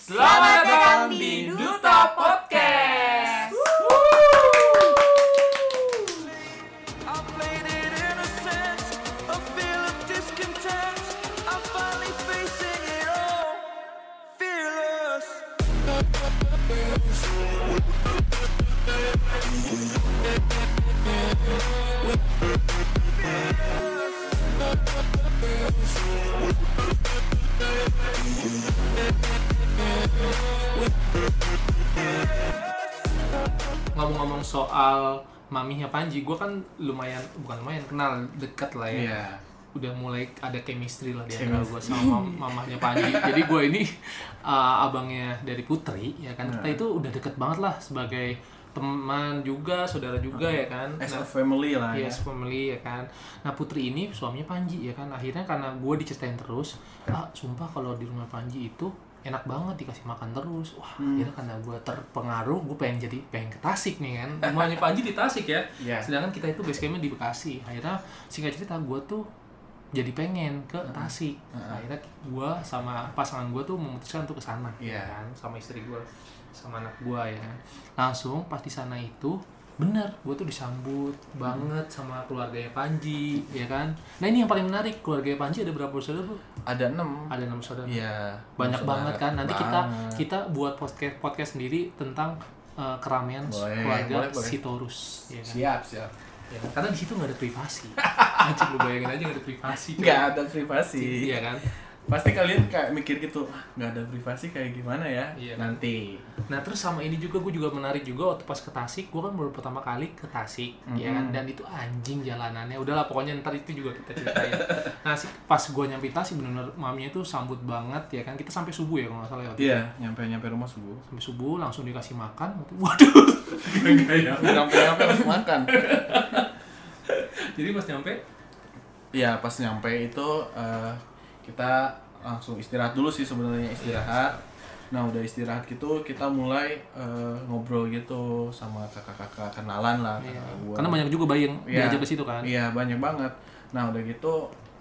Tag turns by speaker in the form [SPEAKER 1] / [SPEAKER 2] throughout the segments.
[SPEAKER 1] Selamat datang di Duta Podcast.
[SPEAKER 2] I played it innocent. A feel of discontent. I'm finally facing it all. Fearless.
[SPEAKER 1] Ngomong-ngomong soal maminya Panji, gue kan lumayan bukan lumayan kenal deket lah ya.
[SPEAKER 3] Iya.
[SPEAKER 1] Udah mulai ada chemistry lah di antara gue sama mam- mamahnya Panji. Jadi gue ini uh, abangnya dari Putri ya kan. Kita itu udah deket banget lah sebagai teman juga, saudara juga ya kan.
[SPEAKER 3] As
[SPEAKER 1] Nah,
[SPEAKER 3] a family lah ya.
[SPEAKER 1] Yes, family ya kan. Nah Putri ini suaminya Panji ya kan. Akhirnya karena gue diceritain terus, ah sumpah kalau di rumah Panji itu enak banget dikasih makan terus. Wah, akhirnya karena gue terpengaruh, gue pengen jadi pengen ke Tasik nih kan. Rumahnya Panji di Tasik ya.
[SPEAKER 3] Iya.
[SPEAKER 1] Sedangkan kita itu base campnya di Bekasi. Akhirnya singkat cerita gue tuh jadi pengen ke Tasik. Akhirnya gue sama pasangan gue tuh memutuskan untuk ke sana
[SPEAKER 3] Iya.
[SPEAKER 1] kan sama istri gue sama anak gue ya kan langsung pas di sana itu bener gue tuh disambut banget sama keluarganya Panji ya kan nah ini yang paling menarik keluarganya Panji ada berapa saudara bu
[SPEAKER 3] Ada enam.
[SPEAKER 1] ada enam saudara
[SPEAKER 3] Iya.
[SPEAKER 1] banyak
[SPEAKER 3] Saudara.
[SPEAKER 1] banget kan nanti
[SPEAKER 3] Banget.
[SPEAKER 1] kita kita buat podcast podcast sendiri tentang eh, keramaian
[SPEAKER 3] Boleh,
[SPEAKER 1] keluarga
[SPEAKER 3] boleh, boleh.
[SPEAKER 1] Sitorus ya kan?
[SPEAKER 3] siap siap.
[SPEAKER 1] Ya kan? karena di situ nggak ada privasi Anjing lu bayangin aja nggak ada privasi coy.
[SPEAKER 3] Nggak ada privasi.
[SPEAKER 1] iya kan
[SPEAKER 3] Pasti kalian kayak mikir gitu, "Ah, nggak ada privasi kayak gimana ya?
[SPEAKER 1] Iya.
[SPEAKER 3] Nanti.
[SPEAKER 1] Nah terus sama ini juga gue juga menarik juga waktu pas ke Tasik gue kan baru pertama kali ke Tasik ya kan dan itu anjing jalanannya udahlah pokoknya ntar itu juga kita ceritain. nah si- pas gue nyampe Tasik bener-bener maminya tuh sambut banget ya kan kita sampai subuh ya kalau nggak salah ya waktu itu.
[SPEAKER 3] Iya. Nyampe nyampe rumah subuh.
[SPEAKER 1] sampai subuh langsung dikasih makan waduh
[SPEAKER 3] nyampe nyampe langsung makan.
[SPEAKER 1] jadi pas nyampe
[SPEAKER 3] Iya pas nyampe itu eh, kita langsung istirahat dulu sih sebenarnya istirahat.
[SPEAKER 1] Iya.
[SPEAKER 3] Nah udah istirahat gitu kita mulai eh, ngobrol gitu sama kakak-kakak kenalan lah.
[SPEAKER 1] ya,
[SPEAKER 3] kakak Ah, gua.
[SPEAKER 1] karena banyak juga bayi yang
[SPEAKER 3] Iya.
[SPEAKER 1] diajak ke situ kan
[SPEAKER 3] Iya banyak banget. Nah udah gitu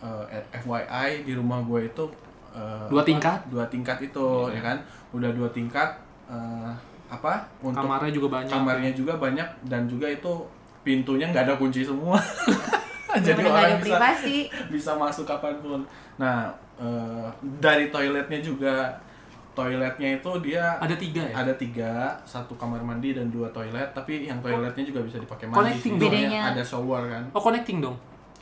[SPEAKER 3] eh, FYI di rumah gue itu eh,
[SPEAKER 1] Dua
[SPEAKER 3] apa,
[SPEAKER 1] tingkat? Iya,
[SPEAKER 3] Dua tingkat itu ya kan. Udah dua tingkat eh, apa untuk
[SPEAKER 1] kamarnya juga banyak
[SPEAKER 3] kamarnya juga banyak dan juga itu pintunya nggak ada kunci semua. Jadi
[SPEAKER 4] Bener-bener nggak ada
[SPEAKER 3] orang bisa
[SPEAKER 4] privasi.
[SPEAKER 3] bisa masuk kapanpun. Nah eh, dari toiletnya juga toiletnya itu dia
[SPEAKER 1] ada tiga ya
[SPEAKER 3] ada tiga satu kamar mandi dan dua toilet tapi yang toiletnya juga bisa dipakai mandi
[SPEAKER 1] Connecting
[SPEAKER 3] sih.
[SPEAKER 1] dong.
[SPEAKER 3] Soalnya
[SPEAKER 4] Bedanya.
[SPEAKER 3] ada shower kan
[SPEAKER 1] oh connecting dong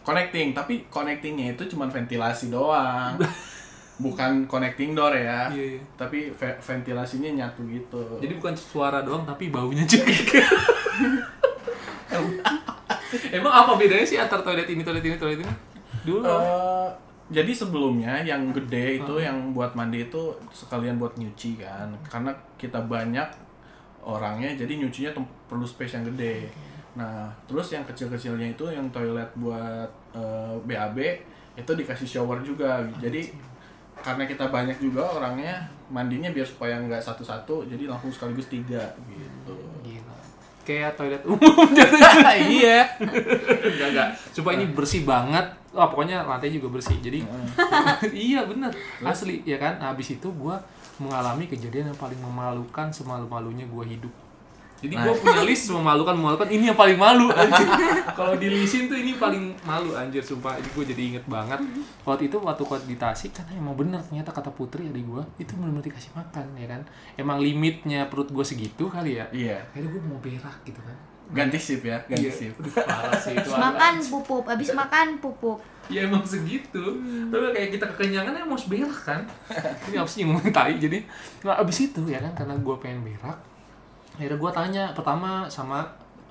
[SPEAKER 3] connecting tapi connectingnya itu cuma ventilasi doang bukan connecting door ya
[SPEAKER 1] Iya, iya.
[SPEAKER 3] tapi ve- ventilasinya nyatu gitu
[SPEAKER 1] Jadi bukan suara doang tapi baunya juga. eh, Emang apa bedanya sih antara toilet ini, toilet ini, toilet ini? Dulu.
[SPEAKER 3] Eh, jadi sebelumnya yang gede itu yang buat mandi itu sekalian buat nyuci kan karena kita banyak orangnya jadi nyucinya tem- perlu space yang gede nah terus yang kecil-kecilnya itu yang toilet buat eh, BAB itu dikasih shower juga jadi karena kita banyak juga orangnya mandinya biar supaya nggak satu-satu jadi langsung sekaligus tiga gitu
[SPEAKER 1] Gila. Kayak toilet umum jatuhnya. iya. Enggak, enggak. Supaya ini bersih banget. Wah, pokoknya lantai juga bersih. Jadi iya bener asli ya kan. Nah, habis itu gua mengalami kejadian yang paling memalukan semalu-malunya gua hidup. Jadi gua punya list memalukan memalukan ini yang paling malu anjir. Kalau dilisin tuh ini paling malu anjir sumpah. Ini gua jadi inget banget. Waktu itu waktu kuat di Tasik kan emang bener ternyata kata Putri adik gua itu benar-benar dikasih makan ya kan. Emang limitnya perut gua segitu kali ya
[SPEAKER 3] iya
[SPEAKER 1] akhirnya gue mau berak gitu kan
[SPEAKER 3] ganti sip ya
[SPEAKER 1] Iya.
[SPEAKER 3] ganti sip
[SPEAKER 1] Aduh, parah sih itu
[SPEAKER 4] Abis makan pupuk, abis makan pupuk.
[SPEAKER 1] ya emang segitu tapi kayak kita kekenyangan ya mau berak kan ini apa sih yang ngomongin tai jadi nah abis itu ya kan karena gue pengen berak akhirnya gue tanya pertama sama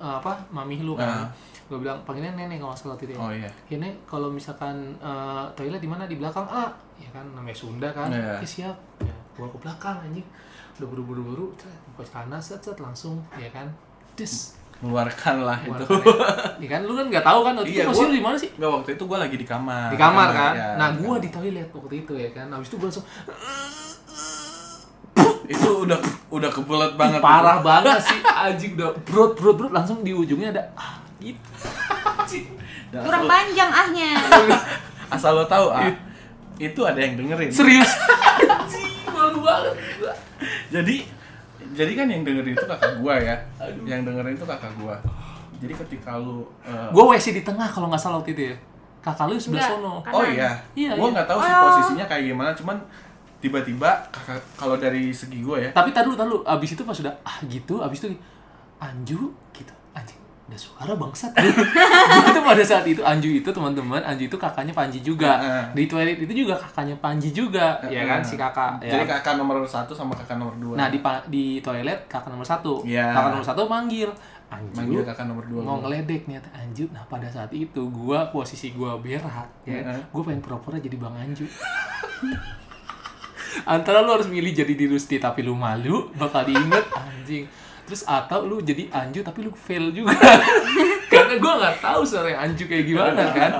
[SPEAKER 1] eh, apa mami lu kan
[SPEAKER 3] Nah.
[SPEAKER 1] gue bilang panggilnya nenek kalau nggak salah waktu itu ya
[SPEAKER 3] oh iya
[SPEAKER 1] ya Nek, kalau misalkan eh, toilet di mana di belakang A ya kan namanya Sunda kan
[SPEAKER 3] Iya.
[SPEAKER 1] Oke, siap ya, gua ke belakang anjing udah buru-buru buru cet, buka celana set set langsung ya kan des
[SPEAKER 3] keluarkanlah
[SPEAKER 1] Keluar
[SPEAKER 3] itu
[SPEAKER 1] toilet. Ya kan lu kan nggak tahu kan waktu
[SPEAKER 3] Iya,
[SPEAKER 1] itu posisi
[SPEAKER 3] gua-
[SPEAKER 1] lu di mana sih?
[SPEAKER 3] Enggak waktu itu gue lagi di kamar.
[SPEAKER 1] Di kamar kan.
[SPEAKER 3] ya,
[SPEAKER 1] nah,
[SPEAKER 3] di
[SPEAKER 1] gua
[SPEAKER 3] kamar.
[SPEAKER 1] di toilet waktu itu ya kan. Habis itu gua langsung
[SPEAKER 3] itu udah udah kebelet banget.
[SPEAKER 1] parah banget sih anjing udah brot brot brot langsung di ujungnya ada ah gitu. Anjing.
[SPEAKER 3] Dan
[SPEAKER 4] Kurang
[SPEAKER 3] asal-
[SPEAKER 4] panjang ahnya.
[SPEAKER 1] Iya.
[SPEAKER 3] Asal lo tahu ah, itu ada yang dengerin.
[SPEAKER 1] Serius. Anjing malu banget.
[SPEAKER 3] jadi jadi kan yang dengerin itu kakak gua ya yang dengerin itu kakak gua jadi ketika lu eh,
[SPEAKER 1] Gue WC di tengah kalau nggak salah waktu itu ya. Kakak lu sebelah
[SPEAKER 4] Enggak.
[SPEAKER 1] sono.
[SPEAKER 3] oh
[SPEAKER 4] kanan. Oh.
[SPEAKER 3] iya
[SPEAKER 1] Iya,
[SPEAKER 3] gua
[SPEAKER 1] iya.
[SPEAKER 3] nggak tahu sih
[SPEAKER 1] Ah.
[SPEAKER 3] posisinya kayak gimana cuman tiba-tiba kakak kalau dari segi gua ya
[SPEAKER 1] Tapi tadi lu, tadi lu, abis itu pas udah ah gitu, abis itu Anju gitu, anjing ada suara bangsat. itu pada saat itu Anju itu teman-teman, Anju itu kakaknya Panji juga.
[SPEAKER 3] Heeh.
[SPEAKER 1] Di toilet itu juga kakaknya Panji juga, ya kan si kakak. ya.
[SPEAKER 3] jadi kakak nomor satu sama kakak nomor dua
[SPEAKER 1] Nah di pa- di toilet kakak nomor satu,
[SPEAKER 3] Iya.
[SPEAKER 1] kakak nomor satu manggil Anju.
[SPEAKER 3] manggil kakak nomor dua
[SPEAKER 1] mau
[SPEAKER 3] lu.
[SPEAKER 1] ngeledek nih Anju nah pada saat itu gua posisi gua berak ya
[SPEAKER 3] Heeh.
[SPEAKER 1] gua pengen pura-pura jadi bang Anju antara lu harus milih jadi diri sendiri tapi lu malu bakal diinget anjing terus atau lu jadi Anju tapi lu fail juga karena gua nggak tahu suara Anju kayak gimana kan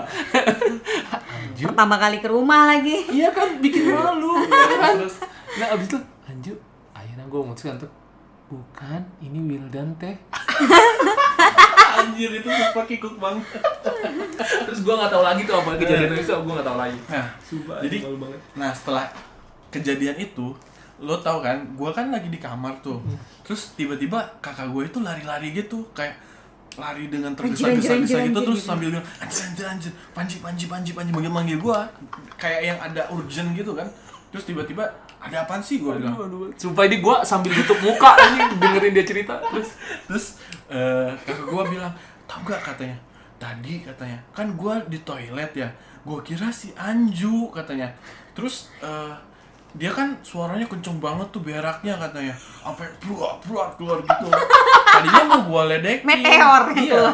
[SPEAKER 1] Anju
[SPEAKER 4] Pertama kali ke rumah lagi.
[SPEAKER 1] iya kan bikin malu ya kan?
[SPEAKER 3] terus
[SPEAKER 1] nah abis itu Anju akhirnya gua memutuskan untuk bukan ini Wildan teh
[SPEAKER 3] anjir itu super kikuk banget
[SPEAKER 1] terus gua nggak tahu lagi tuh apa kejadian itu gua nggak tahu lagi
[SPEAKER 3] nah
[SPEAKER 1] Sumpah,
[SPEAKER 3] Jadi-
[SPEAKER 1] malu banget.
[SPEAKER 3] Nah setelah kejadian itu, lo tau kan, gue kan lagi di kamar tuh.
[SPEAKER 1] Hmm.
[SPEAKER 3] Terus tiba-tiba kakak gue itu lari-lari gitu, kayak lari dengan
[SPEAKER 4] Anjir,
[SPEAKER 3] tergesa-gesa
[SPEAKER 4] anjir,
[SPEAKER 3] gitu
[SPEAKER 4] anjir,
[SPEAKER 3] terus
[SPEAKER 4] gitu.
[SPEAKER 3] sambil bilang anjir anjir anjir panji panji panji panji manggil-manggil gue kayak yang ada urgent gitu kan terus tiba-tiba ada apaan sih gue bilang
[SPEAKER 1] Sumpah ini gue sambil tutup muka ini dengerin dia cerita terus
[SPEAKER 3] terus eh, kakak gue bilang tau gak katanya tadi katanya kan gue di toilet ya gue kira si Anju katanya terus eh, dia kan suaranya kenceng banget tuh beraknya katanya sampai bruak bruak keluar gitu tadinya mau gue ledekin
[SPEAKER 4] Meteor yang
[SPEAKER 3] iya.
[SPEAKER 4] keluar.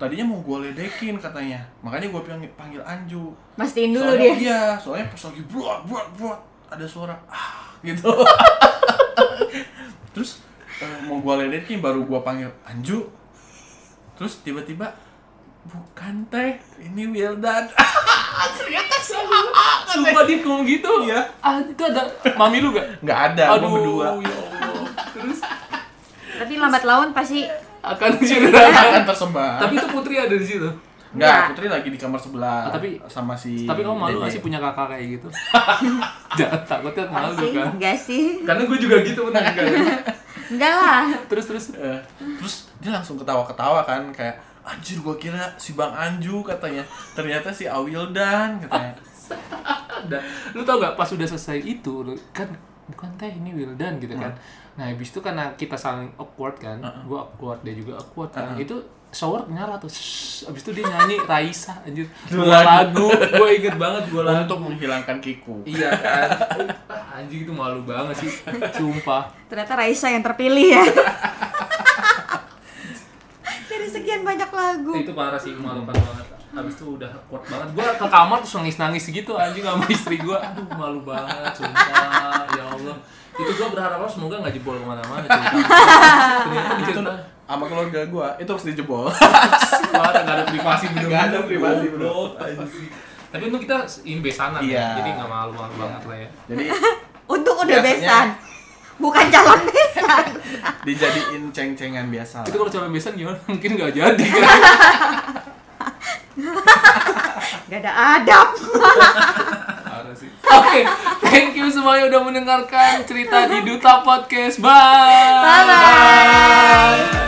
[SPEAKER 3] tadinya mau gue ledekin katanya makanya gue panggil, panggil Anju
[SPEAKER 4] Mastiin dulu
[SPEAKER 3] soalnya,
[SPEAKER 4] dia.
[SPEAKER 3] iya soalnya pas lagi bruak bruak bruak ada suara ah gitu terus eh, mau gua ledekin baru gua panggil Anju terus tiba-tiba bukan teh ini Wildan Ah, ternyata salah
[SPEAKER 1] Sumpah dia ngomong gitu
[SPEAKER 3] Iya.
[SPEAKER 1] ah, Itu ada mami lu gak?
[SPEAKER 3] nggak ada gua berdua
[SPEAKER 1] ya Allah Terus
[SPEAKER 4] Tapi lambat laun pasti
[SPEAKER 1] akan cerita
[SPEAKER 3] akan tersebar
[SPEAKER 1] Iya. Tapi itu putri ada di situ
[SPEAKER 3] nggak
[SPEAKER 4] Nggak.
[SPEAKER 3] Putri lagi di kamar sebelah
[SPEAKER 1] Ah, tapi-
[SPEAKER 3] sama si
[SPEAKER 1] Tapi kamu malu gak sih
[SPEAKER 3] Dede.
[SPEAKER 1] punya kakak kayak gitu? Jangan takutnya malu
[SPEAKER 4] pasti
[SPEAKER 1] kan
[SPEAKER 4] enggak sih?
[SPEAKER 1] Karena gue juga gitu bener kan
[SPEAKER 4] Enggak lah.
[SPEAKER 1] Terus terus
[SPEAKER 3] Eh, terus dia langsung ketawa-ketawa kan kayak anjir gua kira si Bang Anju katanya ternyata si Awildan katanya
[SPEAKER 1] Ada. Lu tau gak pas udah selesai itu lu- kan bukan teh ini Wildan gitu kan. Nah, habis itu karena kita saling awkward kan. Gua awkward dia juga awkward kan. Itu shower nyala tuh. Shhh. Habis itu dia nyanyi Raisa anjir.
[SPEAKER 3] Dua
[SPEAKER 1] Dua lagu.
[SPEAKER 3] lagu.
[SPEAKER 1] Gua inget banget dua lagu.
[SPEAKER 3] untuk menghilangkan kiku
[SPEAKER 1] Iya kan. Ah, Anjing itu malu banget sih. Sumpah.
[SPEAKER 4] Ternyata Raisa yang terpilih ya. Dari sekian banyak lagu.
[SPEAKER 1] Itu parah sih memalukan banget. Habis itu udah awkward banget. Gua ke kamar terus nangis-nangis gitu anjing sama istri gua. Aduh, malu banget sumpah. Ya Allah. Itu gua berharap semoga nggak jebol kemana-mana. cerita. Ternyata
[SPEAKER 3] itu
[SPEAKER 1] dicerita.
[SPEAKER 3] sama keluarga gua itu harus dijebol
[SPEAKER 1] Wah, nggak ada privasi bener
[SPEAKER 3] Nggak ada privasi, bro.
[SPEAKER 1] Goblok, anjing. Tapi untuk kita imbesanan
[SPEAKER 3] Iya.
[SPEAKER 1] ya, jadi nggak malu-malu banget lah ya.
[SPEAKER 3] jadi
[SPEAKER 4] Untung udah
[SPEAKER 1] Iya.
[SPEAKER 3] Biasanya-
[SPEAKER 4] besan. Bukan calon besan.
[SPEAKER 3] dijadiin ceng-cengan biasa
[SPEAKER 1] Itu
[SPEAKER 3] lah.
[SPEAKER 1] kalau calon besan gimana? Mungkin nggak jadi kan?
[SPEAKER 4] Enggak ada adab.
[SPEAKER 1] Parah sih. Oke, thank you semuanya udah mendengarkan cerita di Duta Podcast. Bye.
[SPEAKER 4] Bye-bye.
[SPEAKER 1] Bye.